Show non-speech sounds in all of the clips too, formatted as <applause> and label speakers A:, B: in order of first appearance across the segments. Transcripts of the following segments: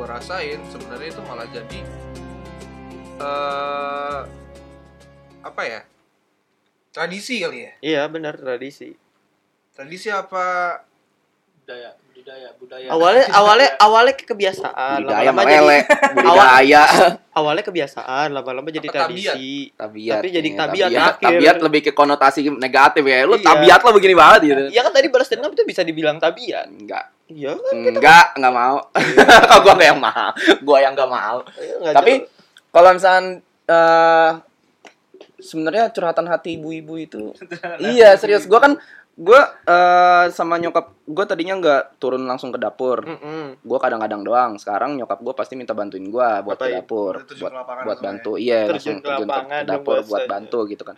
A: rasain sebenarnya itu malah jadi eh apa ya tradisi kali ya
B: Iya benar tradisi.
A: tradisi apa
C: budaya budaya budaya
B: Awalnya awalnya awalnya kebiasaan,
D: budaya
B: lama-lama jadi
D: <laughs> melele budaya
B: awalnya kebiasaan, lama-lama jadi
A: Apa
B: tradisi.
D: tabiat
B: Tapi jadi
D: Iya,
B: tabiat akhir.
D: tabiat lebih ke konotasi negatif ya lu
B: Iya.
D: tabiat lo begini banget gitu
B: Iya kan tadi balas dendam itu bisa dibilang tabiat.
D: enggak
B: Iya kan?
D: enggak enggak mau <laughs> Kalau gua enggak yang mau gua yang enggak mau
B: Iya, nggak
D: tapi
B: jelas.
D: kalau misalkan eh sebenarnya curhatan hati ibu-ibu
B: <laughs>
D: itu iya serius gua kan gua eh, sama nyokap gua tadinya nggak turun langsung ke dapur
B: Mm-mm.
D: gue kadang-kadang doang sekarang nyokap gue pasti minta bantuin gue buat
B: Apa
D: ke
B: ya?
D: dapur
A: Terjun
D: buat
A: ke lapangan
D: buat
A: langsung
D: bantu iya
B: Terjun
D: langsung
B: ke
D: terjun ke,
B: lapangan dong
D: dapur buat
B: bahasanya.
D: bantu gitu kan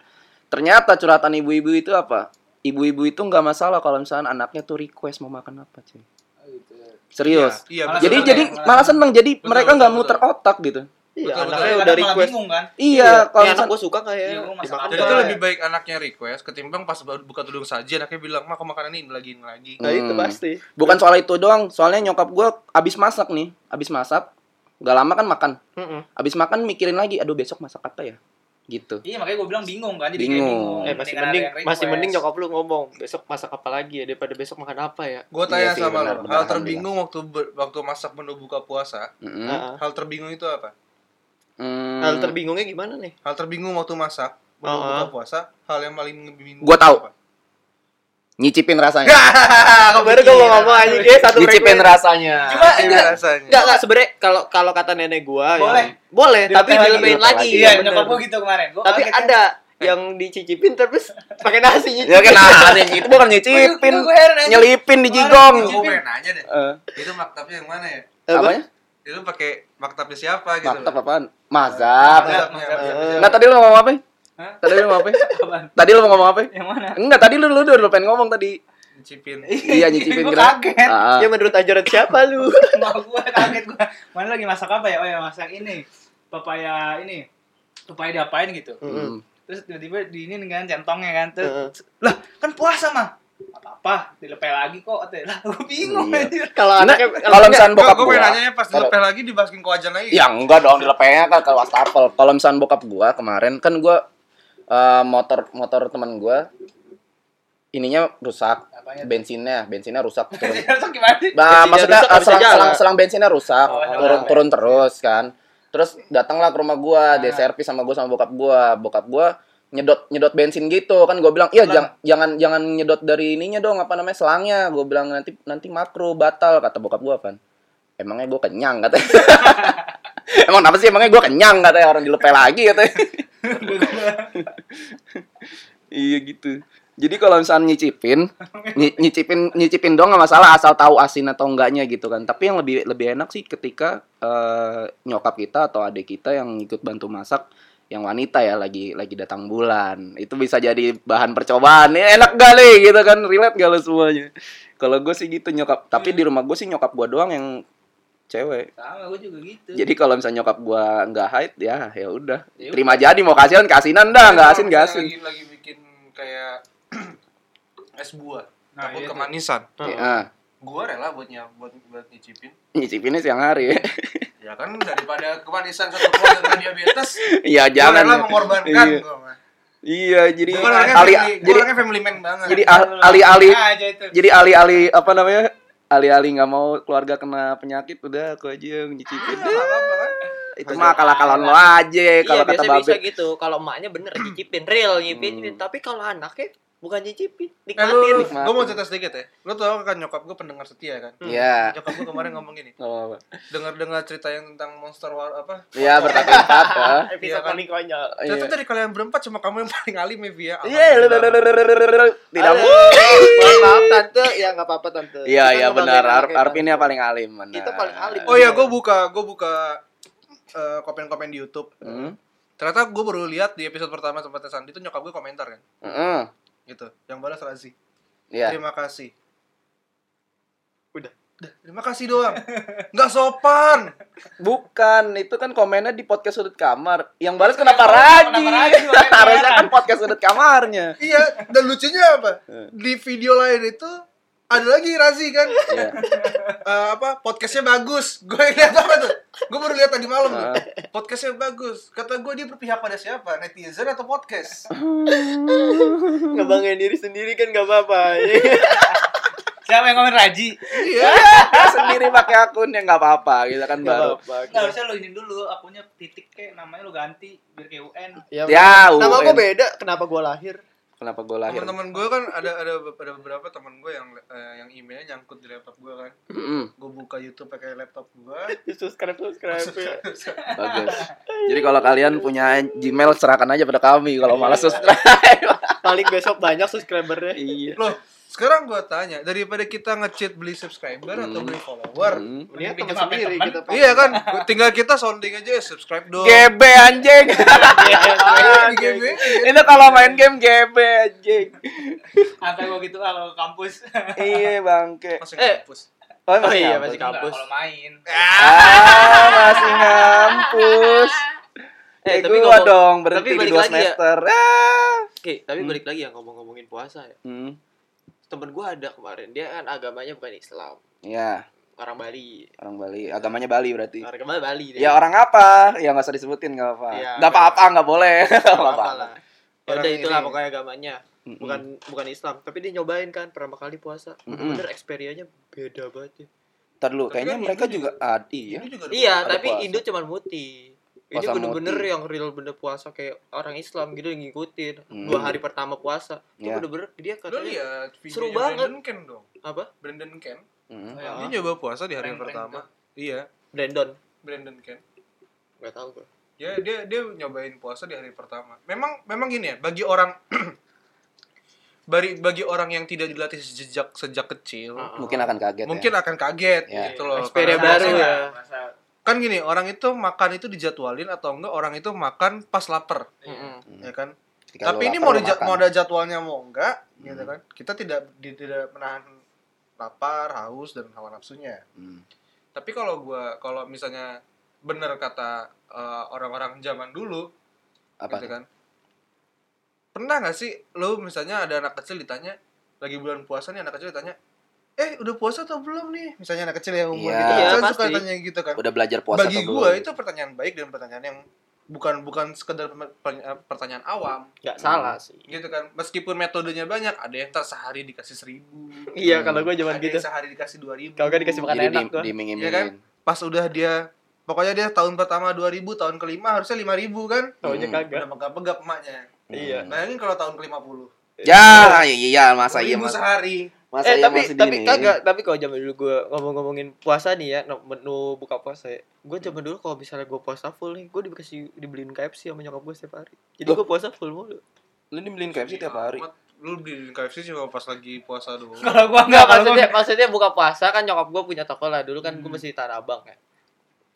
D: ternyata curhatan ibu-ibu itu apa ibu-ibu itu nggak masalah kalau misalnya anaknya tuh request mau makan apa cuy
C: gitu.
D: serius
A: iya
C: Malah
A: betul.
D: jadi
C: seneng
D: jadi
C: ya, malah
D: malah seneng jadi
A: Betul,
D: mereka
A: betul,
D: nggak
A: betul.
D: muter otak gitu
B: Iya,
A: Betul, betul.
B: anaknya
A: Kadang
B: udah
C: malah
B: request.
C: bingung kan
D: iya
B: Kalau
D: kalau
B: anak
D: misalnya
B: gue suka kayak
C: Iya, gua masak
B: dimakan
A: jadi
C: apa?
A: itu
B: kayak-
A: lebih baik anaknya request ketimbang pas baru buka tudung saji anaknya bilang mah aku makanan ini lagi ini lagi
B: Nah itu
D: Hmm.
B: pasti.
D: bukan soal itu doang soalnya nyokap gue abis masak nih abis masak nggak lama kan makan
B: Mm-mm. Eh,
D: abis makan mikirin lagi aduh besok masak apa ya gitu
C: iya makanya gue bilang bingung kan jadi
D: Bingung.
C: kayak bingung
B: Eh masih
C: Mendingan
B: mending
C: ada yang
B: masih
C: request.
B: mending nyokap lu ngomong besok masak apa lagi ya daripada besok makan apa ya.
A: gue
D: Iya
A: tanya
D: sih,
A: sama
D: benar,
A: lo
D: benar,
A: hal terbingung waktu ber- waktu masak menu buka puasa
D: Mm-mm.
B: Heeh.
A: hal terbingung itu apa
D: Mm.
B: Nah, Hal terbingungnya gimana nih?
A: hal terbingung waktu masak menu
B: Uh-uh.
A: buka puasa hal yang paling ngebingungin
D: Gua tahu.
A: apa?
D: nyicipin rasanya
A: Hahaha,
B: Kabar gue Ah, mau ngomong aja dia satu
D: nyicipin
B: frekuensi.
D: rasanya
C: Cuma
A: Gimana rasanya?
B: Enggak enggak sebenarnya kalau kalau kata nenek gua ya,
C: Boleh.
B: boleh
C: Dilepehin
B: tapi
C: lagi.
B: dilepehin
D: Dilepehin
B: lagi.
D: lagi.
C: iya
B: bener.
C: nyokap gue gitu kemarin Gua
B: Tapi
C: kaget kan.
B: ada yang dicicipin terus <laughs> pakai nasi
D: Ya
B: nyicipin.
D: kan aneh itu bukan nyicipin,
C: Gua- gua heran aja.
D: nyelipin di
A: Gua
D: jigong.
A: pengen nanya deh
D: Eh,
A: itu maktabnya yang mana ya
D: apanya?
A: itu pakai maktabnya siapa gitu
D: Maktab
A: loh.
D: apaan? Mazhab.
A: Maktabnya, maktabnya
B: Eh,
A: siapa?
D: Enggak tadi lu mau ngomong apa?
C: Hah?
D: Tadi lu mau ngomong apa?
C: Apaan?
D: Tadi lu mau ngomong apa?
C: yang mana
D: Enggak, tadi lu lu udah pengen ngomong tadi.
A: Cipin.
D: Iya nyicipin
C: <laughs> Gua
D: gerak.
C: kaget.
D: Ah,
B: Ya menurut ajaran siapa
D: <laughs>
B: lu?
C: Emak gue kaget gue. Mana lagi masak apa ya? Oh ya masak ini. Papaya ini. Papaya diapain gitu.
D: ah.
B: Mm.
D: Mm.
C: Terus tiba-tiba di ini dengan centongnya kan. Terus,
B: Heeh.
C: lah kan puasa mah. Apa-apa. Dilepeh lagi kok. Katanya. Lah gue bingung
D: Iya.
C: anjir. <laughs>
B: Kalau
D: Nah,
B: anaknya
D: kalau misalkan
A: Bokap
D: bokap
A: gue pengen
D: gua,
A: nanyanya pas
D: Kalau-
A: dilepeh lagi dibahasin kewajan lagi.
D: ya enggak dong dilepehnya kan ke wastafel. Kalau misalkan bokap gua kemarin kan gua eh, motor motor teman gua ininya rusak,
C: Apanya?
D: bensinnya, bensinnya rusak turun.
C: Terus gimana sih?
B: Bensinnya
D: Nah, maksudnya
B: rusak, nggak
D: eh,
B: bisa
D: selang,
B: jalan.
D: selang, selang bensinnya rusak,
C: Oh, selang
D: turun,
C: bensin.
D: turun terus kan. Terus datanglah ke rumah gua, dia
C: Ah.
D: servis sama gua sama bokap gua. Bokap gua nyedot nyedot bensin gitu kan gua bilang iya jang- jangan jangan nyedot dari ininya dong apa namanya selangnya gua bilang nanti nanti makro batal kata bokap gua kan emangnya gua kenyang katanya <laughs> emang kenapa sih emangnya gua kenyang katanya orang dilepe lagi katanya iya gitu jadi kalau misalnya nyicipin Nyi- nyicipin nyicipin dong nggak masalah asal tahu asin atau enggaknya gitu kan tapi yang lebih lebih enak sih ketika eh, nyokap kita atau adik kita yang ikut bantu masak yang wanita ya lagi lagi datang bulan itu bisa jadi bahan percobaan Ini enak gak nih gitu kan relate gak lo semuanya kalau gue sih gitu nyokap tapi di rumah gue sih nyokap gue doang yang cewek
C: Sama gue juga gitu.
B: Iya,
D: jadi kalau misalnya nyokap gue nggak haid ya ya udah
C: Ya udah.
D: terima jadi mau kasihan kasihan dah nggak asin nggak asin
A: Lagi, lagi bikin kayak <clears throat> es buah.
C: Nah,
A: takut
C: iya tuh.
A: kemanisan.
D: Ya,
A: Gua rela buat nyap, buat buat nyicipin.
D: nyicipinnya siang hari
A: Ya kan daripada kemanisan satu keluarga kena diabetes,
D: ya
A: gua
D: jangan
A: rela
D: ya.
A: mengorbankan.
D: Iya.
A: gua mah.
D: Iya, jadi
A: Gua orangnya
D: ali
A: family, gua
D: jadi
A: orangnya family man banget.
D: jadi al- Ya. alih-alih
C: Iya, Aja itu.
D: jadi alih-alih apa namanya? Alih-alih nggak mau keluarga kena penyakit udah aku aja yang nyicipin.
A: Nggak apa-apa kan?
D: Itu mah akal-akalan lo aja
B: Iya,
D: kalau kata
B: biasanya bisa
D: Babe. Hmm.
B: gitu. Kalau emaknya bener nyicipin, real nyicipin. Tapi kalau anaknya bukan nyicipin,
A: Eh, lu, lu,
C: Iya,
B: nikmatin.
D: nikmatin.
A: gua mau cerita sedikit ya. Lu tau kan nyokap gua pendengar setia kan?
D: Iya.
A: Nyokap gua kemarin ngomong gini,
D: Nggak apa-apa.
A: dengar-dengar cerita yang tentang monster war apa?
D: Iya, berkata-kata. ah.
A: Iya
B: Episode
A: kan?
B: paling konyol.
D: Iya.
A: Ternyata dari kalian berempat cuma kamu yang <laughs> paling alim ya, Via.
D: Iya, lelelelelelelelelel. tidak
B: Aduh,
D: mungkin.
B: Mohon maaf tante, ya nggak apa-apa tante.
D: Iya,
B: Kita
D: iya
B: ngebanggain
D: benar.
B: anak
D: Ar-
B: kita.
D: Arvin ya paling alim. benar.
B: Kita paling alim.
A: Oh iya, gue buka gue buka eh, komen-komen di YouTube.
D: Hmm.
A: Ternyata gue baru lihat di episode pertama sama Teh Sandi itu nyokap gue komentar kan,
D: Mm-mm.
A: gitu. Yang balas Razi,
D: Iya.
A: terima kasih.
B: Udah.
A: Udah, terima kasih doang. Nggak sopan.
D: Bukan, itu kan komennya di podcast sudut kamar. Yang balas kenapa <laughs>
C: Kenapa
D: Raji?
C: Raji? Makanya
D: Harusnya kan podcast sudut kamarnya.
A: iya. Dan lucunya apa?
D: Eh.
A: Di video lain itu ada lagi Razi kan
D: Iya.
A: Eh, apa podcastnya bagus <laughs> gue lihat apa tuh gue baru lihat tadi malam tuh
D: Nah.
A: podcastnya bagus kata gue dia berpihak pada siapa netizen atau podcast
B: Ngebanggain diri sendiri kan gak apa-apa.
D: <laughs>
C: Siapa yang komen Raji?
A: iya
D: Dia sendiri pakai akun ya nggak apa-apa gitu kan
B: Gak
D: baru.
B: apa-apa.
C: Nggak Nah, harusnya lu ini dulu, akunnya titik kayak namanya lu ganti biar kayak UN.
B: Ya,
D: Ya,
B: nama
D: UN.
B: gue beda. Kenapa gue lahir?
D: Kenapa gue lahir?
A: teman-teman gue kan ada ada ada beberapa teman gue yang eh, yang emailnya nyangkut di laptop gue kan
D: Mm-mm,
A: gue buka YouTube pakai laptop gue
B: Subscribe, subscribe. ya.
D: bagus. Jadi kalau kalian punya Gmail serahkan aja pada kami kalau malas subscribe.
B: <laughs> Paling besok banyak subscribernya.
D: iya.
A: loh sekarang gue tanya daripada kita ngechat beli subscriber atau
D: Hmm.
A: beli follower
D: Mm.
B: Mendingan
C: Pinjam
B: teman
C: HP
B: sendiri gitu,
C: teman.
B: kita.
A: iya kan tinggal kita sounding aja "Eh, subscribe dong
D: GB anjing.
B: Iya,
A: <laughs> Ah, di GB.
D: Itu kalau main game GB anjing.
C: Antar gua gitu kalau ke kampus.
D: Iya bangke.
A: masih
B: Eh.
A: ngampus
D: Oh,
B: Oh iya,
D: ngampus.
B: masih kampus.
C: Kalau main.
D: Ah, masih ngampus.
B: Eh,
D: Eh,
B: tapi
D: gua
B: ngomong-
D: dong berhenti
B: tapi
D: di
B: balik
D: dua
B: lagi ya.
D: semester. Ah.
B: Oke, tapi
D: Hmm.
B: balik lagi ya ngomong-ngomongin puasa ya.
D: Hmm.
B: Temen gue ada kemarin, dia kan agamanya bukan Islam.
D: Ya,
B: Orang Bali.
D: orang Bali. Agamanya Bali berarti.
B: Orang Bali. dia.
D: Ya orang apa? Ya nggak usah disebutin nggak apa.
B: Iya,
D: Nggak apa-apa nggak
A: <laughs>
D: boleh. Nggak
B: Nggak
D: apa-apa. Hmm,
B: apa-apa lah. Ya udah
A: Orang
B: itulah
A: ini.
B: pokoknya agamanya.
D: Mm-mm.
B: Bukan bukan Islam, tapi dia nyobain kan pertama kali puasa.
D: Mm-mm.
B: Bener experience-nya beda banget. Ya.
D: Ntar dulu.
A: Tapi
D: Kayaknya
A: kan
D: mereka
A: ini
D: juga adi ya.
A: Ini juga ada
B: Iya,
D: puasa.
B: tapi
D: Ada
B: Indo cuman muti. Ini
D: Puasa
B: bener-bener
D: muti.
B: yang real bener puasa kayak orang Islam gitu yang ngikutin.
D: Hmm.
B: Dua hari pertama puasa, itu
D: Iya.
B: bener-bener dia
A: Lu
B: katanya
A: lihat video
B: Seru banget.
A: Brandon Ken dong.
B: apa?
A: Brandon Ken.
D: Mm.
C: Ya.
A: Dia nyoba puasa di hari
C: Brandon
A: pertama. Iya,
B: Brandon.
A: Brandon Ken.
B: Gak tau gue.
A: Ya, dia dia nyobain puasa di hari pertama. Memang memang gini ya, bagi orang <clears throat> bagi bagi orang yang tidak dilatih sejak sejak kecil,
D: Mungkin akan kaget.
A: mungkin akan kaget
D: Ya.
A: gitu loh.
B: Experience
A: Karena-
B: baru ya.
C: Masa
A: Kan gini, orang itu makan itu dijadwalin atau enggak orang itu makan pas lapar, ya kan?
D: Ketika
A: Tapi
D: Hmm. lu
A: ini
D: lapar,
A: mau,
D: lu
A: dija-
D: makan.
A: mau ada jadwalnya mau enggak, gitu
D: Hmm.
A: kan? Kita tidak di- tidak menahan lapar, haus dan hawa nafsunya.
D: Mm.
A: tapi kalau gua kalau misalnya bener kata eh, orang-orang zaman dulu
D: Apa?
A: gitu kan pernah nggak sih lo misalnya ada anak kecil ditanya lagi bulan puasa nih anak kecil ditanya eh udah puasa atau belum nih misalnya anak kecil yang umur
D: Iya.
A: gitu
B: Iya,
A: kan suka
B: pasti.
A: tanya gitu kan
D: Udah belajar puasa
A: bagi
D: atau
A: gua
D: belum?
A: itu pertanyaan baik dan pertanyaan yang bukan bukan sekedar pem- per- pertanyaan awam
B: Gak salah
D: Hmm.
B: sih.
A: gitu kan meskipun metodenya banyak ada yang ntar sehari dikasih seribu
B: Iya, kalau gue
A: ada
B: zaman gitu.
A: yang sehari dikasih dua ribu
B: Kalau gak dikasih makan
D: Hmm. Jadi
B: enak gue.
D: diiming-imingin.
A: Iya kan? pas udah dia pokoknya dia tahun pertama 2000 tahun kelima harusnya 5000 kan
B: Taunya
D: Mm.
A: udah
B: kagak.
A: megap-megap emaknya
B: Iya.
D: Mm.
A: bayangin kalau tahun ke 50
D: Ya, iya masa
A: 2000
D: iya masa.
A: sehari
D: Masa
B: eh
D: iya
B: tapi
D: masih
B: tapi
D: diinin.
B: kagak tapi kalau zaman dulu gue ngomong-ngomongin puasa nih ya no- menu buka puasa ya gue
D: Hmm.
B: zaman dulu kalau misalnya gue puasa full nih gue dikasih dibeliin KFC sama nyokap gue setiap hari jadi
D: Loh.
B: gue puasa full mulu
D: Lu dibeliin KFC
B: Iya,
D: tiap hari.
A: Amat, lu beli di KFC cuma pas lagi puasa doang
D: <laughs>
C: kalau gua
B: Enggak
C: enggak
B: maksudnya maksudnya buka puasa kan nyokap gue punya toko lah dulu kan gue
C: Hmm.
B: masih di Tanah Abang ya.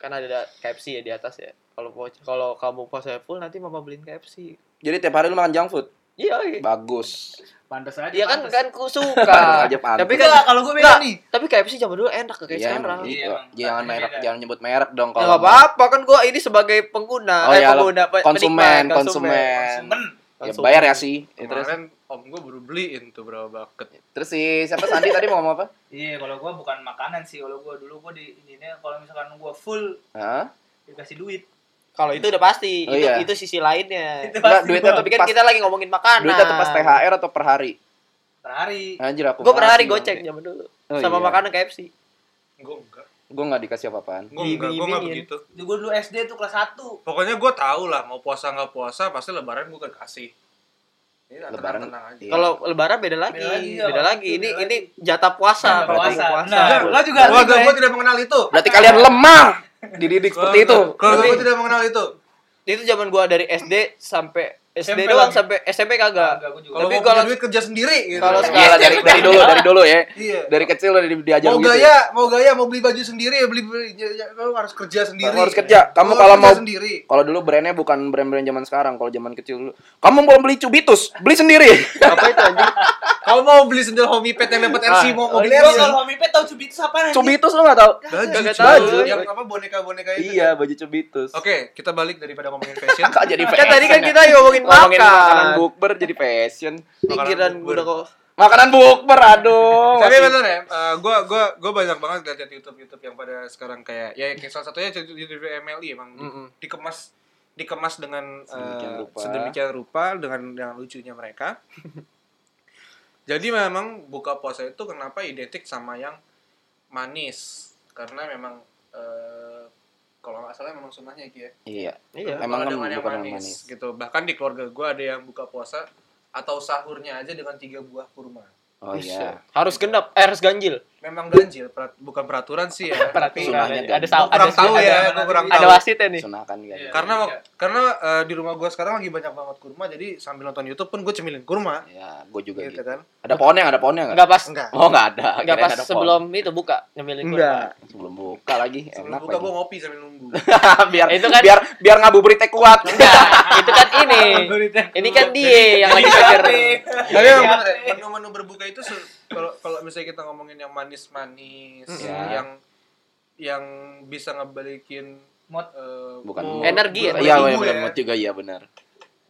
B: Kan ada KFC ya di atas ya. Kalau po- kalau kamu puasa full nanti mama beliin KFC.
D: Jadi tiap hari lu makan junk food.
B: Iya. iya.
D: Bagus.
C: pantas aja.
B: Iya kan
C: pantas.
B: kan ku
D: <laughs> Pantes
B: suka.
D: aja pantes.
B: tapi
C: Enggak,
B: kan
C: kalau gua beda
B: Enggak.
C: nih.
B: tapi KFC zaman dulu enak kayak
D: Iya,
B: sekarang.
D: emang
C: Iya,
D: gitu.
C: emang.
D: Jangan
C: Rasanya
D: merek,
C: beda.
D: jangan nyebut merek dong
B: Ya
D: kalau.
B: nggak apa-apa kan gue ini sebagai pengguna,
D: Oh,
B: eh,
D: iya, lo-
B: pengguna pe-
D: konsumen,
B: penikmat,
D: konsumen.
C: Konsumen.
D: Ya
B: Konsumen.
D: bayar ya sih. Ya, Terus,
A: kemarin om gue baru beliin tuh berapa bucket
D: terus si siapa Sandi tadi mau ngomong apa?
C: Iya, kalau gua bukan makanan sih. Kalau gua dulu gua di ininya kalau misalkan gua full
D: Hah?
C: dikasih duit.
B: Kalau itu udah pasti,
D: Oh,
B: itu
D: iya.
B: itu sisi lainnya.
C: Itu
D: Enggak,
C: pasti
D: duitnya
C: gua.
D: tuh
B: Tapi kan
D: pas,
B: kita lagi ngomongin makanan.
D: duitnya tuh pas THR atau per hari?
C: per hari.
D: Anjir aku.
B: Gue per hari
D: mati,
B: goceng
D: Bang.
B: zaman dulu.
D: Oh,
B: sama
D: iya.
B: makanan KFC.
A: gue enggak
D: Gue nggak dikasih apa-apaan.
A: gue enggak gue enggak
B: Diiming-imingin.
A: begitu
C: Jadi gua dulu SD tuh kelas 1.
A: pokoknya gue tau lah mau puasa nggak puasa pasti lebaran gue kasih ini
D: Lebaran,
A: tenang, tenang aja
D: iya.
B: Kalau lebaran beda lagi, oh.
C: Beda lagi, ya,
B: beda
C: waktu
B: lagi.
C: itu
B: Ini
C: beda
B: ini jatah puasa,
D: Jatah
B: berarti
C: puasa.
B: puasa.
C: Nah,
A: Enggak,
C: lo juga
A: gua,
C: harus,
A: gua
C: Bre.
A: tidak mengenal itu
D: Berarti kalian lemah dididik seperti itu.
A: kalau
B: Tapi-
A: gue tidak mengenal itu
B: Itu zaman gua dari SD sampai SD
C: SMP
B: doang
C: lagi.
B: sampai SMP kagak.
C: Enggak, gua juga.
A: kalau
B: Tapi
A: mau
B: kalau-
A: punya duit kerja sendiri gitu
B: Kalau
D: Iya lah, dari dari dulu dari dulu ya.
A: iya
D: Dari kecil udah di- diajarin
A: mau
D: gitu.
B: ya,
A: gaya, mau gaya, mau beli baju sendiri, beli, beli ya, ya, lu harus kerja sendiri.
D: Kamu harus kerja. Kamu
A: Lu
D: kalau
A: kerja
D: mau-
A: sendiri.
D: Kalau dulu brandnya bukan brand-brand zaman sekarang, kalau zaman kecil dulu. Kamu mau beli cubitus, beli sendiri. <laughs>
B: Apa itu <laughs> anjing?
A: <laughs> Kamu mau beli sendal homie pet yang dapat LC mau mau
C: Gua
A: beli LC.
C: kalau Homi Pet tahu cubit itu apa
D: cubitus lu nggak tahu?
A: oh iya. Baju,
B: Kagak
A: cuy.
B: tahu.
A: yang apa boneka-boneka itu.
D: Iya, baju cubitus.
A: Oke, kita balik daripada ngomongin fashion.
D: Kok jadi
B: Kan tadi kan
D: fashion ya?
B: kita ngomongin
D: ngomongin makanan
B: makan.
D: bukber jadi fashion.
A: Makanan
B: Pikiran
A: bubur.
B: gua udah kok
D: Makanan bukber, aduh.
A: Tapi
D: Oh, Masih-
A: bener ya, eh, gua gua gua banyak banget lihat YouTube YouTube yang pada sekarang kayak ya kayak salah satunya YouTube YouTube MLI emang di-
B: Mm-mm.
A: dikemas dikemas dengan eh,
D: Sedemikian rupa.
A: sedemikian rupa dengan dengan lucunya mereka. <laughs> Jadi memang buka puasa itu kenapa identik sama yang manis karena memang eh, kalau nggak salah memang sunnahnya gitu ya.
D: Iya,
B: Iya.
A: Kalau
D: Emang kan
A: dengan yang
D: bukan yang
A: manis,
D: manis.
A: gitu. Bahkan di keluarga gua ada yang buka puasa atau sahurnya aja dengan tiga buah kurma.
D: oh iya.
B: Harus genap, eh, harus ganjil.
A: Memang ganjil, perat- bukan peraturan sih
B: <laughs>
A: ya. tapi
D: Peraturan.
B: Sunahnya
D: Sunahnya
B: ada
D: ganjil.
B: sa-
A: Gua kurang
B: ada-
A: tahu
B: ada-
A: ya,
C: ada-
A: gua kurang
B: Ada
A: tahu.
B: wasitnya nih.
D: Sunahkan kan.
C: Iya.
A: Karena wak- karena eh, di rumah gua sekarang lagi banyak banget kurma, jadi sambil nonton YouTube pun gue cemilin kurma,
D: Ya, gue juga
A: gitu
D: gitu.
A: kan.
D: Ada pohonnya, nggak ada pohonnya nggak?
B: Enggak pas.
A: Enggak.
D: Oh, nggak ada.
B: Enggak
D: Kirain
B: pas
D: ada pohon.
B: sebelum itu buka nyemilin kurma.
D: sebelum buka lagi
A: Sebelum
D: enak
A: buka gue
D: lagi.
A: ngopi sambil
B: <laughs>
A: nunggu.
D: <laughs> biar
B: Itu kan-
D: biar biar ngabuburitnya kuat.
B: <laughs> Enggak, itu kan ini. Ini kan dia yang
A: Iya,
B: lagi pikir.
A: Tapi emang bener ya, menu-menu berbuka itu se- kalau kalau misalnya kita ngomongin yang manis-manis,
B: Mm.
D: Ya.
A: yang yang bisa ngebalikin
C: Mood.
A: eh,
D: Bukan
C: Oh.
A: mood,
B: Energi ya?
A: bukan
D: Iya,
A: ibu
D: iya benar mood juga iya benar.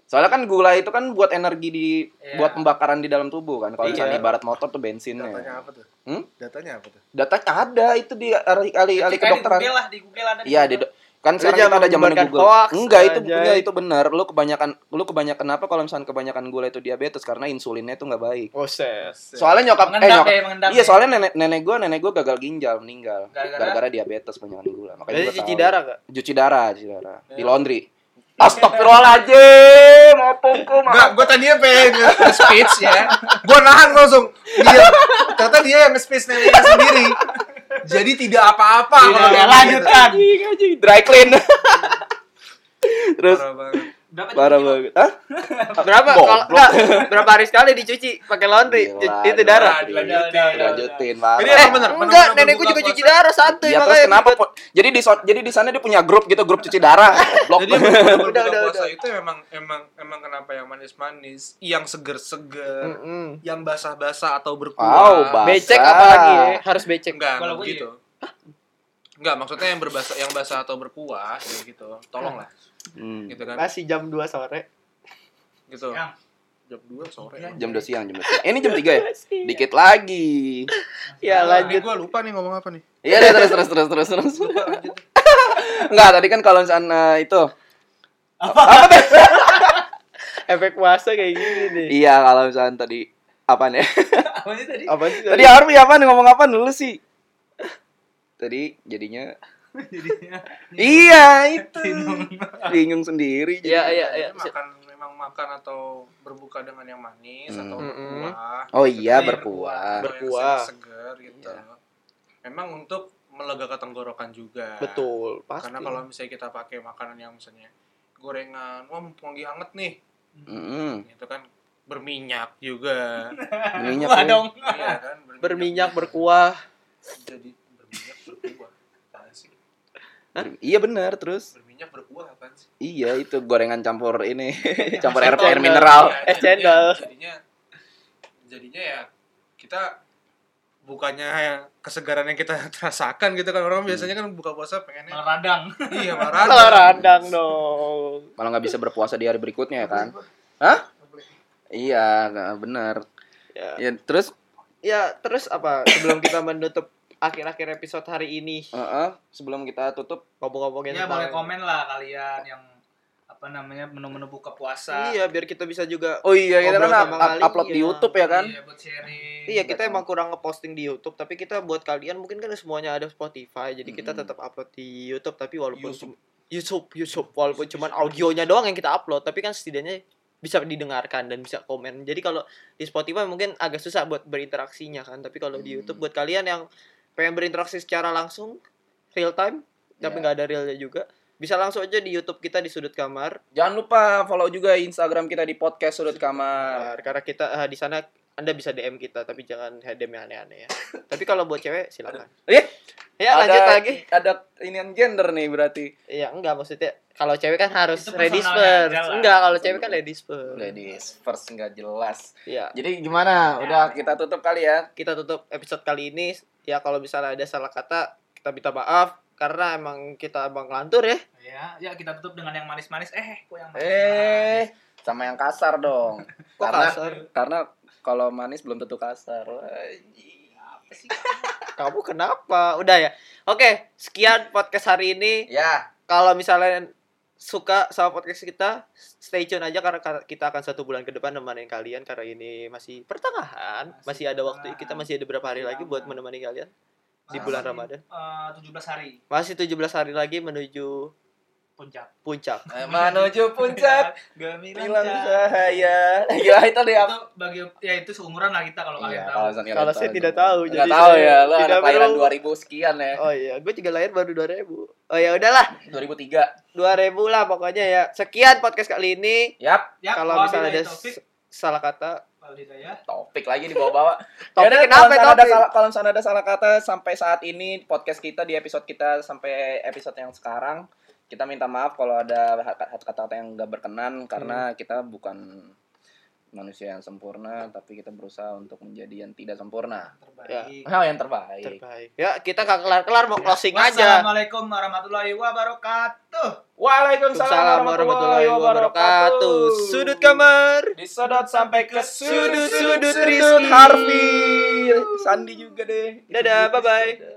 D: Soalnya kan gula itu kan buat energi di
C: Iya.
D: buat pembakaran di dalam tubuh kan. Kalau
B: Iya.
D: misalnya ibarat motor tuh bensinnya.
A: Datanya apa tuh?
D: Hmm?
A: Datanya apa tuh?
D: Datanya ada itu di ahli ahli, ahli
C: Cek aja
D: kedokteran.
C: kan Di Google lah, di Google ada.
D: Iya, di do- kan
B: Lu
D: sekarang
B: jangan
D: kita ada zaman
B: menyebarkan
D: Google.
B: hoax,
D: Enggak, itu
B: anjay.
D: enggak itu benar. Lu kebanyakan lu kebanyakan apa kalau misalnya kebanyakan gula itu diabetes karena insulinnya itu enggak baik.
B: Proses.
D: Soalnya nyokap eh
C: Mengendap
D: nyokap
C: ya, mengendap.
D: Iya, soalnya nenek nenek gua nenek gua gagal ginjal meninggal
C: Gara-gara?
D: gara-gara diabetes kebanyakan gula. Makanya
B: Jadi
D: gua
B: cuci
D: tahu.
B: darah enggak?
D: Cuci darah, cuci darah. Di
A: Ya.
D: laundry. Astagfirullahaladzim, opungku
A: Enggak,
D: maaf.
A: gue tadinya pengen nge- speech ya. Gue nahan langsung. Dia, ternyata dia yang nge-speech neneknya sendiri. Jadi tidak apa-apa
C: Tidak,
A: kalau dia
C: lanjutkan.
D: Anjing, anjing, dry
A: <laughs>
D: clean. Terus
A: Parah banget.
D: parah banget.
C: Berapa jam?
D: Hah?
B: Berapa
D: Goblok.
B: kalau enggak berapa hari sekali dicuci pakai laundry?
D: Gila,
B: Cu- Itu
D: gila.
B: darah.
C: Dilanjutin.
D: Lanjutin, Pak.
A: Jadi
B: Eh,
A: emang bener,
B: enggak,
A: bener-bener
B: nenekku
A: buka
B: juga
A: puasa.
B: cuci darah santai
D: Ya terus kenapa? po- Jadi di so- jadi di sana dia punya grup gitu, grup cuci darah. Blok.
A: <laughs> Jadi menurut buka
B: Udah, udah,
A: puasa
B: udah.
A: itu emang emang emang kenapa yang manis-manis, yang seger-seger,
B: Mm-mm.
A: yang basah-basah atau berkuah.
D: Wow, basah.
B: Becek apalagi ya? Harus becek.
A: Enggak,
C: Kalau
A: enggak
C: gue
A: gitu. Enggak, maksudnya yang berbahasa yang basah atau berkuah kayak gitu. Tolonglah
D: Hmm.
A: gitu kan.
B: Masih jam 2 sore.
A: Gitu.
C: Yang.
A: Jam 2 sore.
B: Iya.
C: Yang.
D: Jam 2 siang, jam 2 siang. Eh, ini jam 3 ya? Dikit lagi.
B: Ya
A: Lanjut.
B: lanjut.
A: Gue lupa nih ngomong apa nih.
D: Iya, udah, terus terus terus terus terus. Enggak, tadi kan kalau misalnya itu
B: Efek puasa kayak gini nih.
D: Iya, kalau misalnya tadi apaan ya?
C: Apa sih tadi?
B: Apa sih?
D: Tadi Army apaan ngomong apaan dulu sih? Tadi jadinya
C: Jadinya.
D: Iya, itu. Bingung sendiri.
B: Iya,
D: jadi.
B: iya,
A: Jadi
B: iya.
A: Makan memang makan atau berbuka dengan yang manis
D: Hmm.
A: atau
B: Mm-mm.
A: berkuah.
D: Oh
B: Ah,
D: iya,
C: Iya,
D: berkuah.
A: atau yang
B: Berkuah.
A: Seger gitu.
B: Iya.
A: Memang untuk melegakan tenggorokan juga.
B: Betul, pasti.
A: Karena kalau misalnya kita pakai makanan yang misalnya gorengan, wah mumpung lagi hangat nih,
D: Mm-mm.
A: gitu kan berminyak
B: <laughs>
A: juga.
D: Minyak
C: Wah
D: ya.
C: dong.
A: Iya kan,
B: berminyak berkuah.
A: Jadi berminyak berkuah. Apaan sih?
D: Iya benar, terus
A: Berminyak berkuah apaan sih?
D: iya itu gorengan campur <laughs> ini, campur air,
B: Cendol.
D: air mineral.
A: Ya,
B: es
A: jadinya-
B: cendol.
A: Jadinya, jadinya ya kita bukannya kesegaran yang kita <laughs> terasakan gitu kan orang biasanya kan buka puasa pengennya
C: Malah radang.
A: iya
B: Kalau
A: marah
B: radang dong.
D: Malah nggak bisa berpuasa di hari berikutnya ya kan? Hah? Iya, nggak benar.
B: Ya.
D: Ya terus
B: ya terus apa sebelum kita menutup akhir-akhir episode hari ini
D: heeh, sebelum kita tutup
B: ngomong-ngomongin
C: Ya boleh
B: tentang
C: komen lah kalian yang apa namanya menu-menu buka puasa.
B: iya biar kita bisa juga
D: Oh iya, kita
B: Ngobrol
D: kan
B: sama
D: up-
B: kali,
D: upload di
B: iya.
D: YouTube ya kan?
C: Iya, buat sharing.
B: Iya kita
D: Betul.
B: emang kurang ngeposting di YouTube tapi kita buat kalian mungkin kan semuanya ada Spotify jadi kita
D: Mm-mm.
B: tetap upload di YouTube tapi walaupun
A: YouTube.
B: cum- YouTube YouTube walaupun cuman audionya doang yang kita upload tapi kan setidaknya bisa didengarkan dan bisa komen jadi kalau di Spotify mungkin agak susah buat berinteraksinya kan tapi kalau di YouTube buat kalian yang pengen berinteraksi secara langsung real time tapi
D: Iya.
B: nggak ada realnya juga bisa langsung aja di YouTube kita di sudut kamar
D: Jangan lupa follow juga Instagram kita di podcast sudut kamar.
B: karena kita eh, di sana anda bisa DM kita tapi jangan DM yang aneh-aneh
D: <laughs>
B: ya tapi kalau buat cewek silakan
D: Iya.
B: ya lanjut lagi
D: Ada inian gender nih berarti.
B: ya enggak maksudnya kalau cewek kan harus
C: Itu
B: ladies
C: personalnya
B: first
C: aja lah.
B: enggak kalau cewek kan ladies first
D: Ladies first nggak jelas.
B: ya
D: Jadi gimana? Udah
C: Ya.
D: kita tutup kali ya.
B: kita tutup episode kali ini ya kalau misalnya ada salah kata kita minta maaf karena emang kita emang lantur ya
C: Ya, ya kita tutup dengan yang manis-manis. Eh, kok yang manis-manis?
D: Eh, sama yang kasar dong.
B: kok
D: Karena
B: kasar
D: karena kalau manis belum tentu kasar. Wah,
C: Apa sih?
B: Kamu kenapa? Udah ya. Oke, sekian podcast hari ini.
D: Ya,
B: Kalau misalnya suka sama podcast kita, stay tune aja karena ka- kita akan satu bulan ke depan nemenin kalian karena ini masih pertengahan, masih
C: Masih
B: ada waktu
C: pertengahan. Iya.
B: kita masih ada berapa hari lagi buat menemani kalian di bulan
C: Masih,
B: Ramadan.
C: eh, 17 hari
B: Masih 17 hari lagi menuju
C: puncak.
B: puncak.
D: eh, menuju puncak hilang
C: Gemilang.
D: cahaya. Gila itu dia.
C: Itu bagi ya itu seumuran lah kita kalau
D: Iya,
C: kalian tahu.
D: Zan
B: Kalau saya tidak tahu,
D: Nggak
B: jadi
D: tahu
B: saya
D: ya, lo ada
B: tidak
D: kelahiran
B: tahu.
D: 2000 sekian ya.
C: Eh.
B: Oh iya, gue juga lahir baru 2000. Oh ya udahlah,
D: 2003.
B: 2000 lah pokoknya ya. Sekian podcast kali ini.
D: Yap,
C: Ya,
B: Kalau misalnya ada s-
C: topik,
B: salah kata,
C: ya.
D: topik lagi dibawa-bawa.
B: topik
D: Yaudah,
B: kenapa
D: kalau misalnya ada
B: topik?
D: salah- Kalau misalnya ada salah kata sampai saat ini podcast kita di episode kita sampai episode yang sekarang kita minta maaf kalau ada hat- kata-kata yang nggak berkenan
B: Hmm.
D: karena kita bukan manusia yang sempurna tapi kita berusaha untuk menjadi yang tidak sempurna.
B: Ya.
C: Terbaik. Ya.
D: Hal yang terbaik.
B: Terbaik. Ya, kita gak kelar-kelar
C: Iya.
B: mau closing aja.
C: Wassalamualaikum warahmatullahi wabarakatuh.
D: Waalaikumsalam
B: Assalamualaikum warahmatullahi wabarakatuh. Sudut kamar.
D: Disodot sampai ke
B: Sudut-sudut
D: sudut-sudut
B: Rizky.
D: Harvey. Sandi juga deh.
B: Dadah, bye-bye.
D: Dadah.